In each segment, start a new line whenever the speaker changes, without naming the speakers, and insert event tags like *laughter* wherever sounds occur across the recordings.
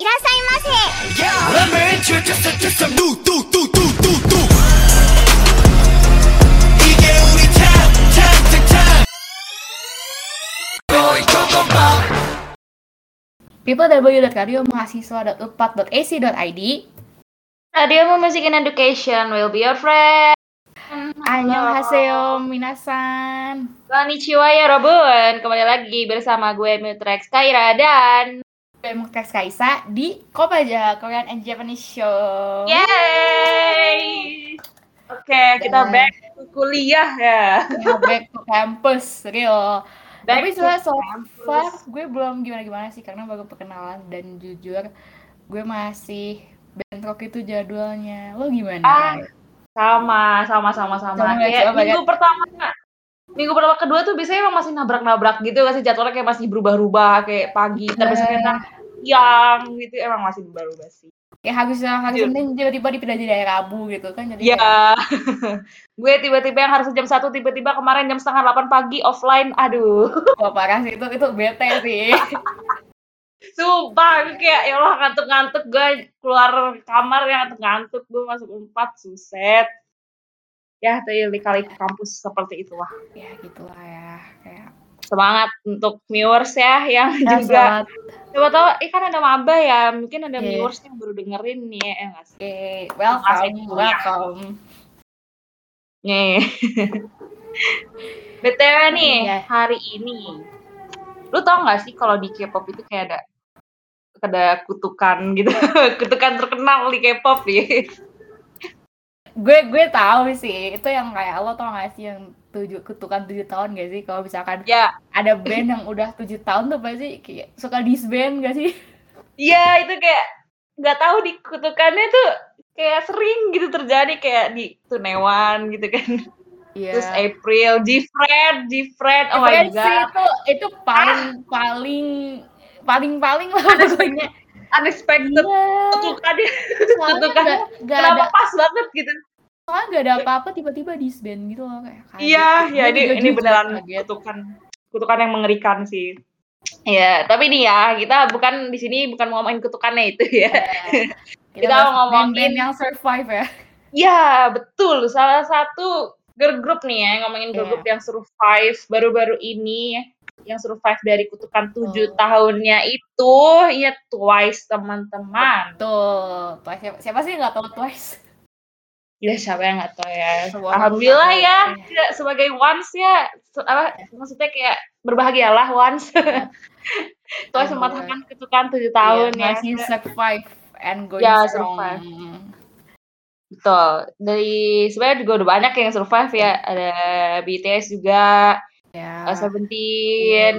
いらっしゃいませ
Yeah, let me introduce you to some new, do, do, do, do, do. 이게 우리 time, time, time, time. 거의 조금만.
www.radiomahasiswa.upat.ac.id
Radio Music and Education will be your friend.
Annyeonghaseyo minasan
Konnichiwa ya Robun. Kembali lagi bersama gue Mutrex Kaira dan
Gue Muktes Kaisa di Kopaja Korean and Japanese Show
Yeay. Oke, kita
Dan-
back to kuliah ya.
Ya, Back to campus, real
Back
Tapi
to
sebenernya so
campus.
far gue belum gimana-gimana sih Karena baru perkenalan dan jujur Gue masih bentrok itu jadwalnya Lo gimana?
Ah, sama, sama, sama, sama.
Sama,
Kayak
sama,
minggu pertama Minggu pertama kedua tuh biasanya emang masih nabrak-nabrak gitu kan sih jadwalnya kayak masih berubah-ubah kayak pagi terus
Eh.
kadang siang gitu emang masih berubah-ubah sih.
Ya harus harus
Jujur.
Senin tiba-tiba dipindah jadi hari Rabu gitu kan jadi
Iya. *laughs*
kayak,
gue tiba-tiba yang harusnya jam satu tiba-tiba kemarin jam setengah delapan pagi offline. Aduh. *laughs*
wah, parah sih itu itu bete sih *laughs*
Sumpah, gue kayak ya Allah ngantuk-ngantuk gue keluar kamar yang ngantuk-ngantuk gue masuk empat suset. Ya, itu kali ke kampus seperti itulah.
ya gitulah ya kayak
Semangat untuk viewers ya yang
Ya,
juga
selamat
coba tahu eh kan ada maba ya, mungkin ada
Iya.
viewers yang baru dengerin nih ya, ya nggak sih?
Oke,
Masih
welcome,
kuliah.
welcome.
Nih. *laughs* BTW nih,
Iya.
hari ini lu tau gak sih kalau di K-pop itu kayak ada ada kutukan gitu, *laughs* kutukan terkenal di K-pop ya.
Gue gue tahu sih, itu yang kayak lo tau gak sih yang tujuh ketukan tujuh tahun gak sih? Kalau misalkan
*laughs* Ya,
ada band yang udah tujuh tahun tuh pasti kayak suka disband gak sih?
Iya itu kayak nggak tahu di kutukannya tuh kayak sering gitu terjadi kayak di Tunewan gitu kan. Terus
Iya.
April, Gfred, Gfred, oh my
Friends sih
god, Ah!
itu itu paling paling paling paling lah
*laughs*
pokoknya.
unexpected
Iya.
kutukannya,
Soalnya
kutukan.
gak, gak ada
kenapa pas banget gitu?
soalnya gak ada apa-apa tiba-tiba disband gitu loh kayak. kaget.
Iya, ya
Gue
ini
juga
ini
jujur
beneran *laughs*
kaget.
kutukan, kutukan yang mengerikan sih. Ya, tapi nih ya kita bukan di sini bukan ngomongin kutukannya itu *laughs* ya.
Iya.
Kita
bahas
ngomongin-
band-band yang survive ya.
Ya, betul. Salah satu girl group nih ya, ngomongin girl
Iya.
group yang survive baru-baru ini ya, yang survive dari kutukan tujuh
Betul.
tahunnya itu, ya Twice, teman-teman.
Tuh, Twice. siapa, siapa sih nggak tahu Twice? Iya.
Ya, siapa yang nggak tahu ya.
Semua
Alhamdulillah
orang
ya,
tahu.
kita sebagai once ya, se- apa, maksudnya kayak berbahagialah
*laughs*
once. Twice
Alhamdulillah.
mematahkan kutukan tujuh tahun
Iya,
ya.
masih survive and going
Ya,
strong.
survive. Betul. Dari sebenarnya juga udah banyak yang survive
Iya.
ya. Ada BTS juga,
Ya,
uh, Seventeen,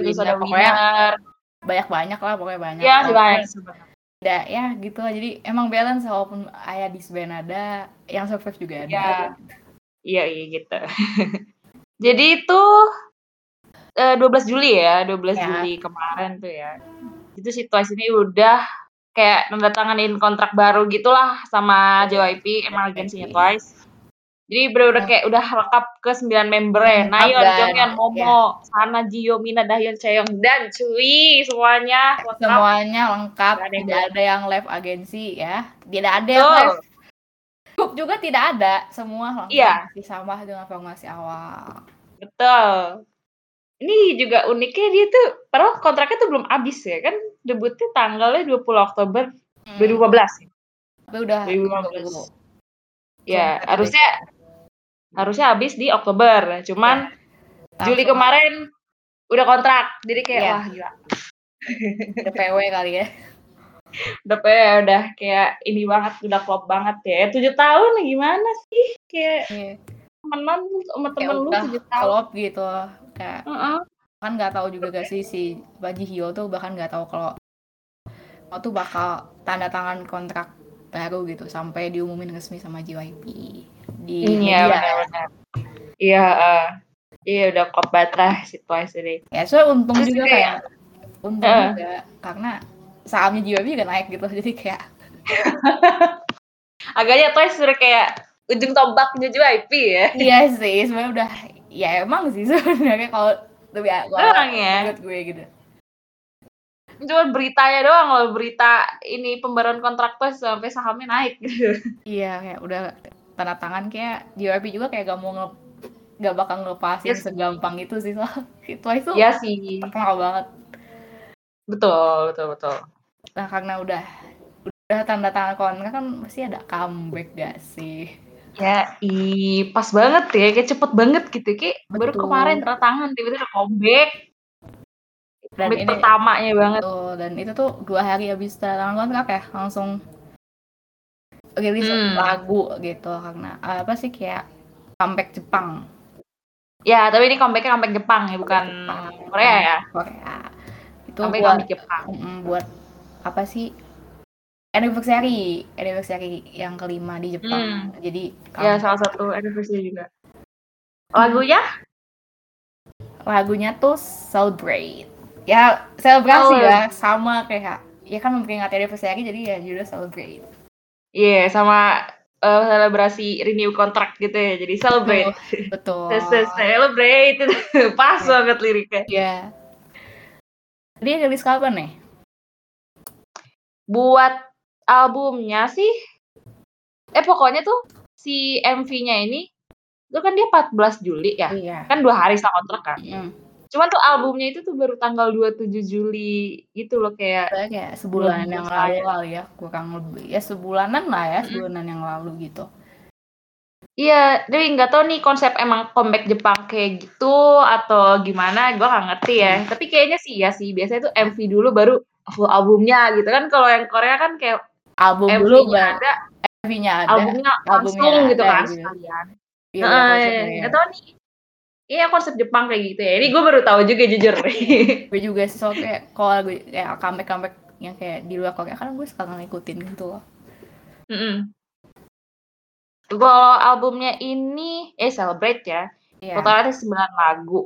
Iya,
terus
Winner
ada
pokoknya.
Winner.
banyak-banyak lah pokoknya banyak.
Iya,
Walaupun
banyak.
Ada ya gitu lah. Jadi emang balance walaupun ayah disband ada, yang survive juga ada.
Iya. Iya, iya gitu. *laughs* Jadi itu eh, 12 Juli ya, 12
Ya.
Juli kemarin tuh ya. Itu situasi ini udah kayak mendatanganin kontrak baru gitulah
Iya,
sama JYP, emang agensinya
JYP.
Twice. Jadi bener-bener kayak udah lengkap ke 9
Ya. Lengkap, ya.
membernya. Nayeon,
guys.
Jonghyun, Momo, Sana, Jiyo, Mina, Dahyun, Chaeyoung, dan Cui semuanya lengkap.
Semuanya lengkap,
Nggak ada yang
tidak ada yang live agensi ya. Tidak ada yang
Betul.
live group juga tidak ada, semua lengkap
Iya.
masih sama dengan formasi awal.
Betul. Ini juga uniknya dia tuh, padahal kontraknya tuh belum habis ya kan. Debutnya tanggalnya 20 Oktober 2015 ya.
Hmm. Tapi udah gitu.
2015.
Iya.
Ya, harusnya harusnya habis di Oktober.
Ya,
Cuman Juli kemarin udah kontrak. Jadi kayak
Iya.
wah gila.
udah PW kali ya.
Udah pe- udah kayak ini banget, udah klop banget ya. 7 tahun gimana sih? Kayak
Iya.
temenan lu sama temen lu
Ya udah
7 tahun.
Klop gitu kayak
Heeh.
kan nggak tahu juga gak sih si Baji Hyo tuh bahkan nggak tahu kalau kalau tuh bakal tanda tangan kontrak baru gitu sampai diumumin resmi sama JYP di media.
Iya, benar-benar. Iya, eh. Iya udah klop banget lah si Twice ini.
Ya, so untung
Terus
juga
kayak-
kayak untung
Eh.
juga karena sahamnya JYP juga naik gitu *laughs* jadi
*laughs*
kayak
agaknya Twice sudah kayak ujung tombaknya JYP ya.
iya sih sebenarnya udah ya *laughs* emang sih sebenarnya kalau lebih kalau
Orang ya.
menurut gue gitu.
cuma beritanya doang loh berita ini pembaruan kontraktor sampai sahamnya
*laughs*
naik
Iya kayak udah tanda tangan kayak JYP juga kayak gak mau nge- gak bakal ngelepasin
Yes.
segampang itu sih soal *laughs* Twice tuh
ya sih
terkenal banget
betul betul betul
nah karena udah udah tanda tangan kontrak kan pasti ada comeback gak sih
ya i pas banget ya kayak cepet banget gitu kayak baru
Betul.
kemarin tanda tangan tiba-tiba udah comeback
dan
comeback
ini
pertamanya banget
tuh dan itu tuh dua hari habis tanda tangan kontrak ya langsung rilis
Hmm.
lagu gitu karena apa sih kayak comeback Jepang
ya tapi ini comebacknya comeback Jepang ya bukan
Jepang.
Korea ya
Korea itu
comeback
buat
comeback Jepang
Mm, buat apa sih anniversary anniversary yang kelima di Jepang Hmm. jadi
ya
um,
salah satu anniversary juga lagunya
lagunya tuh celebrate ya selebrasi
Oh,
ya sama kayak ya kan memperingati anniversary jadi ya judul celebrate
Iya, sama eh, selebrasi renew kontrak gitu ya. Jadi celebrate.
betul
Se- se- Celebrate. *laughs* Pas banget liriknya.
ya dia rilis kapan nih
Buat albumnya sih eh pokoknya tuh si MV-nya ini itu kan dia 14 Juli ya.
iya
Kan dua hari setelah kontrak kan.
mm.
Cuman tuh albumnya itu tuh baru tanggal 27 Juli gitu loh kayak
Soalnya kayak sebulan
Belum
yang
selesai.
lalu kali ya kurang lebih ya sebulanan lah ya sebulanan yang lalu gitu
iya tapi nggak tahu nih konsep emang comeback Jepang kayak gitu atau gimana gua nggak ngerti ya tapi kayaknya sih ya sih biasanya tuh MV dulu baru full albumnya gitu kan kalau yang Korea kan kayak
album dulu
MV-nya
baru-
ada,
MV-nya ada
albumnya
albumnya
langsung gitu
ada
kan
gitu.
sekalian.
Iya,
Nah,
bener,
iya,
maksudnya.
nggak tahu nih. Iya konsep Jepang kayak gitu ya. Ini gue baru tahu juga jujur.
gue juga sih soalnya kayak kalau gue kayak comeback comeback yang kayak di luar Korea kan gue suka ngikutin gitu loh
Mm-mm. Kalau albumnya ini, eh Celebrate ya.
Iya.
Totalnya ada 9 lagu.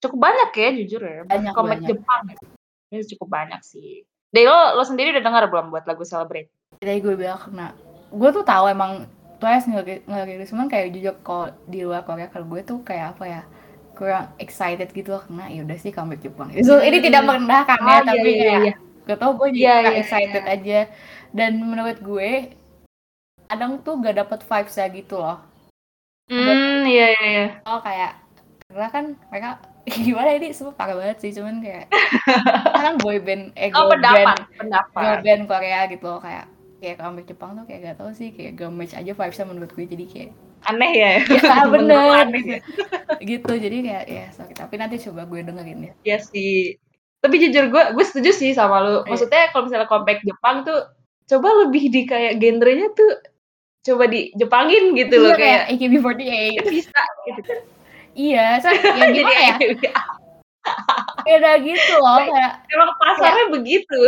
Cukup banyak ya jujur ya. buat
Banyak,
comeback
banyak.
Jepang. Ini cukup banyak sih. Deh lo, lo sendiri udah dengar belum buat lagu Celebrate?
jadi gue bilang karena gue tuh tahu emang Twice ngeri- ngerilis cuman kayak jujur kalau di luar Korea kalau gue tuh kayak apa ya kurang excited gitu loh karena ya udah sih comeback Jepang so, ini tidak merendahkan ya
Ah, iya,
tapi
iya,
kayak
iya.
gak tau gue jadi
Iya,
kayak
iya,
excited aja dan menurut gue kadang tuh gak dapet vibes ya gitu loh
Hmm, iya iya iya.
oh kayak karena kan mereka *laughs* gimana ini semua parah banget sih cuman
*laughs*
kayak kan boy band eh
Oh,
girl
pendapat,
band girl
pendapat.
band Korea gitu loh kayak kayak comeback Jepang tuh kayak gak tau sih kayak gak match aja vibesnya menurut gue jadi
*laughs*
kayak
Aneh ya.
ya bener
Bener-bener aneh.
*laughs* gitu jadi kayak ya sorry tapi nanti coba gue dengerin ya
Iya sih. Tapi jujur gue, gue setuju sih sama lu.
Iya.
Maksudnya kalau misalnya comeback Jepang tuh, coba lebih di kayak genrenya tuh, coba di Jepangin gitu loh
Iya,
kayak.
AKB48 *laughs*
Bisa gitu. *laughs*
iya so ya
Jadi
gimana ya beda gitu loh kayak
*laughs*
Iya.
emang pasarnya begitu.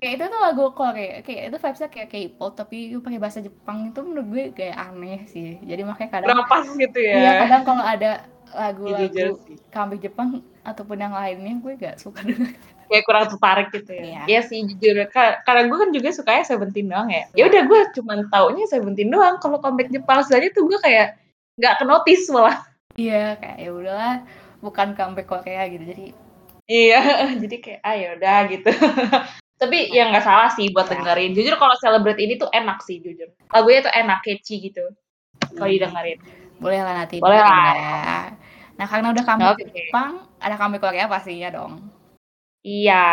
kayak itu tuh lagu Korea kayak itu vibesnya kayak K-pop tapi itu pakai bahasa Jepang itu menurut gue kayak aneh sih jadi makanya kadang
Kurang pas gitu ya.
Iya kadang kalau ada
Iya, jujur
lagu-lagu
sih.
kambing Jepang ataupun yang lainnya gue gak suka *laughs* denger.
Kayak kurang tertarik gitu
Iya.
ya. Iya sih jujur. Ka- Karena gue kan juga sukanya Seventeen doang ya. Ya udah gue cuman taunya Seventeen doang. Kalau comeback Jepang saja tuh gue kayak nggak kenotis malah.
Iya kayak ya udahlah bukan comeback Korea gitu jadi
Iya, *laughs* jadi kayak ah yaudah gitu. *laughs* Tapi ya nggak salah sih buat dengerin. Jujur kalau Celebrate ini tuh enak sih jujur. Lagunya tuh enak, catchy gitu. Kalau didengerin.
boleh lah nanti.
Boleh lah.
dengerin ya. Nah karena udah comeback
Oke.
Jepang ada comeback Korea pastinya dong.
Iya,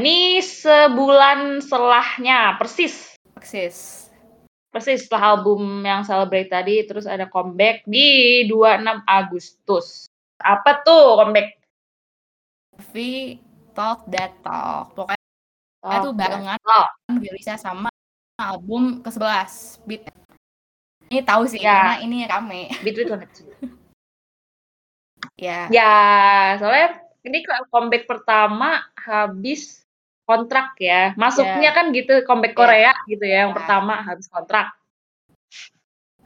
ini sebulan selahnya persis.
Persis.
Persis setelah album yang Celebrate tadi terus ada comeback di 26 Agustus. Apa tuh comeback?
V Talk That Talk. Pokoknya itu barengan
Oh.
rilisnya sama album ke-11 Beat. Ini tahu sih karena
Ya.
ini rame. *laughs*
Between Connection.
Ya.
Ya, soalnya ini ke- comeback pertama habis kontrak ya. Masuknya kan gitu comeback
Ya.
Korea gitu ya, yang
Ya.
pertama habis kontrak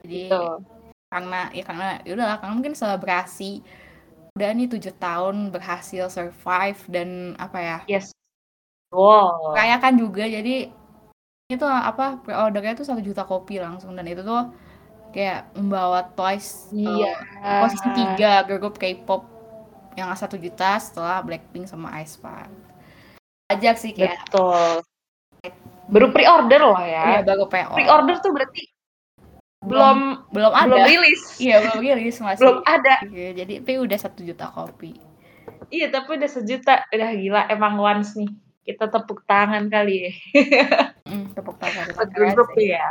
Jadi
gitu.
karena ya karena ya udahlah karena mungkin selebrasi udah nih tujuh tahun berhasil survive dan apa ya
Yes. Wow.
rayakan juga jadi itu apa pre-ordernya tuh satu juta kopi langsung dan itu tuh kayak membawa eh, Twice ke
Iya.
posisi tiga girl group K-pop yang satu juta setelah Blackpink sama Aespa pajak sih kayak
Betul. Baru pre-order loh
ya
ya.
baru PO
Pre-order tuh berarti belum
belum ada
belum rilis.
iya belum rilis masih
Belum ada.
Iya, jadi tapi udah satu juta kopi
Iya, tapi udah sejuta. Udah gila emang once nih. Kita tepuk tangan kali ya.
Mm, tepuk tangan tepuk tangan
Grup
sih.
tuh ya.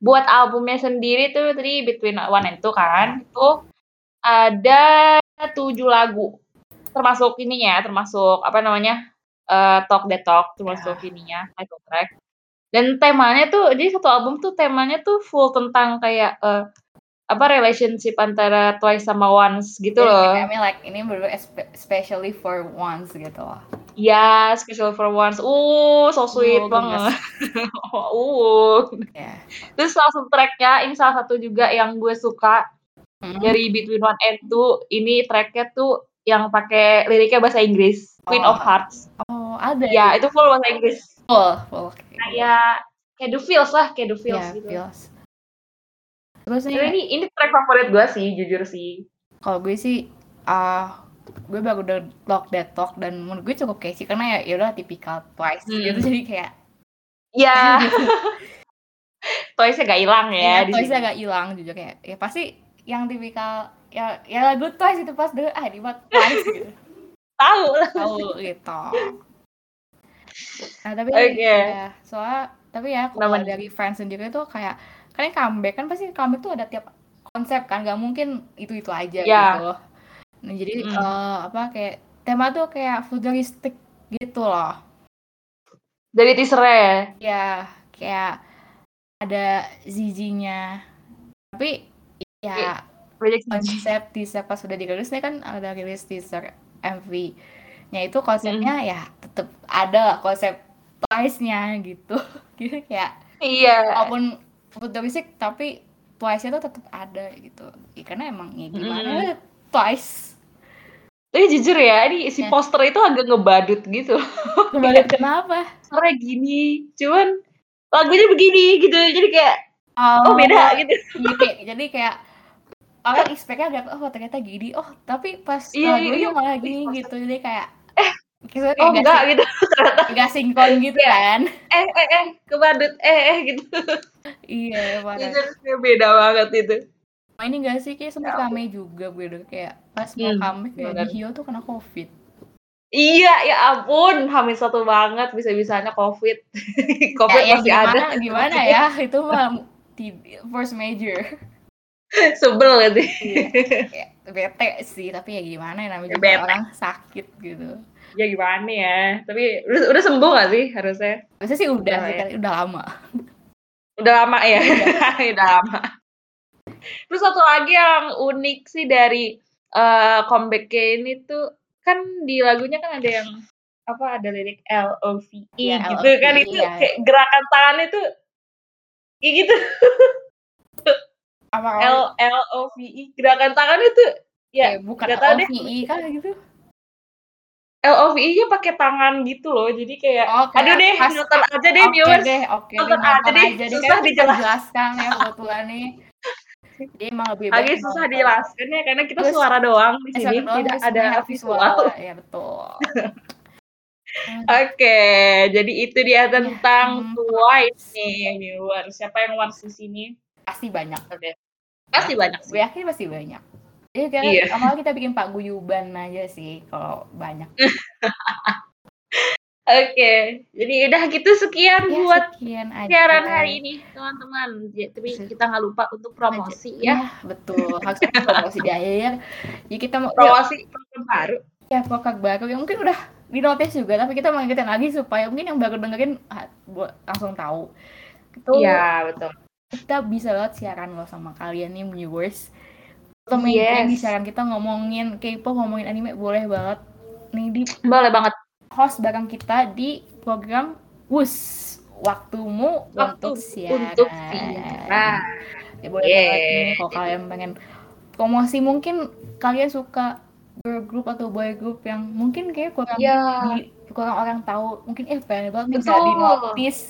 Buat albumnya sendiri tuh tadi Between One and Two kan, itu ada tujuh lagu. Termasuk ininya, termasuk apa namanya? eh, talk the Talk, termasuk ininya, title track. Dan temanya tuh, jadi satu album tuh temanya tuh full tentang kayak eh, apa relationship antara Twice sama Once gitu
Jadi
loh.
kami like ini baru espe- especially for once gitu loh
Ya, special for once. Uh, so sweet
Oh,
banget.
gemes.
*laughs* uh.
ya
Terus langsung tracknya, ini salah satu juga yang gue suka
Mm.
dari Between One and Two. Ini tracknya tuh yang pakai liriknya bahasa Inggris, Queen
Oh.
of Hearts.
oh ada gitu.
Ya, itu full bahasa Inggris.
full full oke.
Kayak kayak the feels lah, kayak the feels
ya
gitu.
feels terus
Tapi
nih
Ini ini track favorit gue sih, jujur sih.
kalau gue sih ah gue baru udah talk that talk dan menurut gue cukup catchy karena ya udah tipikal twice
Hmm.
gitu *laughs* jadi kayak
*laughs*
*laughs*
Ya. *laughs* Toys-nya gak hilang ya.
ya,
di
twice
sini.
agak hilang juga kayak ya pasti yang tipikal ya ya lagu twice itu pas dulu ah ini buat twice gitu
Tahu lah. *laughs*
tahu gitu nah tapi
Oke.
ya, soalnya tapi ya kalau
Kenapa nih?
dari fans sendiri tuh kayak kan yang comeback kan pasti comeback tuh ada tiap konsep kan nggak mungkin itu itu aja
Ya.
gitu nah jadi
Mm.
eh, apa kayak tema tuh kayak futuristik gitu loh
Dari teasernya ya.
ya kayak ada zizinya tapi
Iya.
ya
Project Sunshine.
konsep teaser pas sudah dirilis nih kan ada rilis teaser MV-nya itu konsepnya ya tetap ada konsep Twice-nya gitu. *laughs* Gitu kayak
Iya.
walaupun futuristik tapi Twice-nya tuh tetap ada gitu. Ya, karena emang ya
Mm-hmm.
gimana Twice
Tapi jujur ya, ini si
Ya.
poster itu agak ngebadut gitu.
kembali Iya, kenapa?
Suaranya gini, cuman lagunya begini gitu. Jadi kayak,
Oh,
oh beda gitu.
Iya, kayak- jadi kayak orang expect-nya agak oh ternyata gini. Oh, tapi pas
Iya,
lagunya
iya, iya.
malah gini gitu. Jadi kayak eh
Oh enggak gitu.
Gak sinkron gitu kan. *laughs*
Eh, eh, eh, kebadut. Eh, eh gitu.
Iya, parah.
Jujur kayak beda banget itu.
Sama Nah, ini gak sih kayak sempet
Ya ampun.
rame juga gue udah kayak pas mau
Hmm,
comeback ya,
bener.
di Hio tuh kena covid.
Iya, ya ampun. Hamil satu banget, bisa-bisanya COVID. *laughs* COVID
Ya, ya
Oh, masih
gimana,
ada.
gimana ya *laughs* itu mah ti- first major.
*laughs* Sebel gitu.
Iya. Ya, bete sih tapi ya gimana ya namanya
Ya,
juga
bete.
orang sakit gitu.
Ya gimana ya. Tapi udah, udah sembuh gak sih harusnya?
Biasanya sih udah,
Udah
sih,
ya.
kan, udah lama.
Udah lama ya?
Iya.
*laughs* Udah lama. Terus satu lagi yang unik sih dari eh comeback ini tuh kan di lagunya kan ada yang apa ada lirik L O V E
Iya,
gitu kan
LOVE,
itu
iya.
kayak gerakan tangannya tuh kayak gitu
Apa oh,
L L O V E gerakan tangannya tuh ya
ya, bukan
nggak tahu deh.
LVI kan gitu.
L O V E nya pakai tangan gitu loh jadi kayak
Oh,
aduh
kayak
deh
pas-
nonton aja deh
Oke
viewers
deh, oke deh,
Nonton aja
nonton
deh,
aja deh.
susah
Kan kita
dijelas-
jelaskan ya kebetulan nih. Dia emang lebih baik.
agak susah
nonton.
dijelaskan ya karena kita
gitu. Terus-
suara doang di
Eh,
sini
sorry,
tidak
harus
ada
melihat
visual
*laughs* Ya
*laughs*
betul.
Oke, jadi itu dia
Ya,
tentang
hmm.
Twice nih, viewer. Siapa yang wants di sini?
pasti banyak.
Oke. Pasti banyak
Gue
sih.
yakin pasti banyak. Jadi kayak
Iya.
awalnya kita bikin Pak Guyuban aja sih kalau banyak.
Oke, jadi udah gitu sekian
Ya,
buat
sekian aja.
siaran hari ini, teman-teman. Ya, tapi kita nggak lupa untuk promosi ya.
Ya, betul. Harus ada promosi di akhir. Jadi kita mau ya,
Promosi program baru.
ya produk baru yang mungkin udah di notice juga tapi kita mau ingetin lagi supaya mungkin yang baru dengerin ah, buat langsung tahu. Itu
Iya, betul.
kita bisa banget siaran loh sama kalian nih viewers temen yang di
Yes.
siaran kita ngomongin K-pop ngomongin anime boleh banget nih di
Boleh banget.
host bareng kita di program WUS waktumu
Waktu
untuk siaran
untuk siaran.
ya boleh
Yes.
banget nih kalau kalian pengen promosi mungkin kalian suka girl group atau boy group yang mungkin kayak kurang
Iya.
di- kurang orang tahu mungkin eh pengen banget nih
Betul.
bisa di notice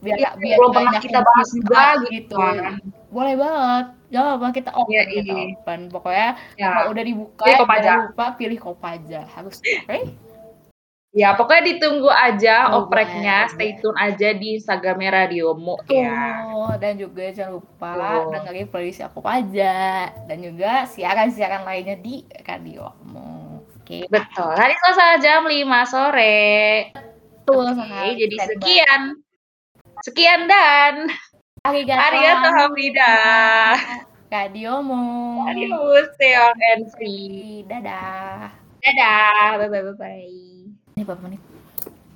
biar
Iya,
biar
belum pernah
banyak
kita
yang
bahas
suka
juga gitu. kan.
boleh banget jangan lupa kita open
Iya,
kita
iya.
open pokoknya
Ya.
kalau udah dibuka
Pilih Kopaja.
jangan lupa pilih kopaja harus oke
Ya, pokoknya ditunggu aja
Tunggu
opreknya.
aja.
Stay tune aja di Instagramnya Radiomu ya.
Oh, dan juga jangan lupa
Betul.
dengerin playlist aku aja dan juga siaran-siaran lainnya di Radiomu. Oke.
Betul. Hari Selasa jam 5 sore.
Betul
Oke,
sekali.
jadi
Keren
sekian. Sekian dan
banget. Arigato.
arigato hamida.
Radiomu.
Adios, stay on and free.
Dadah.
Dadah, bye-bye. bye-bye.
Ini berapa menit?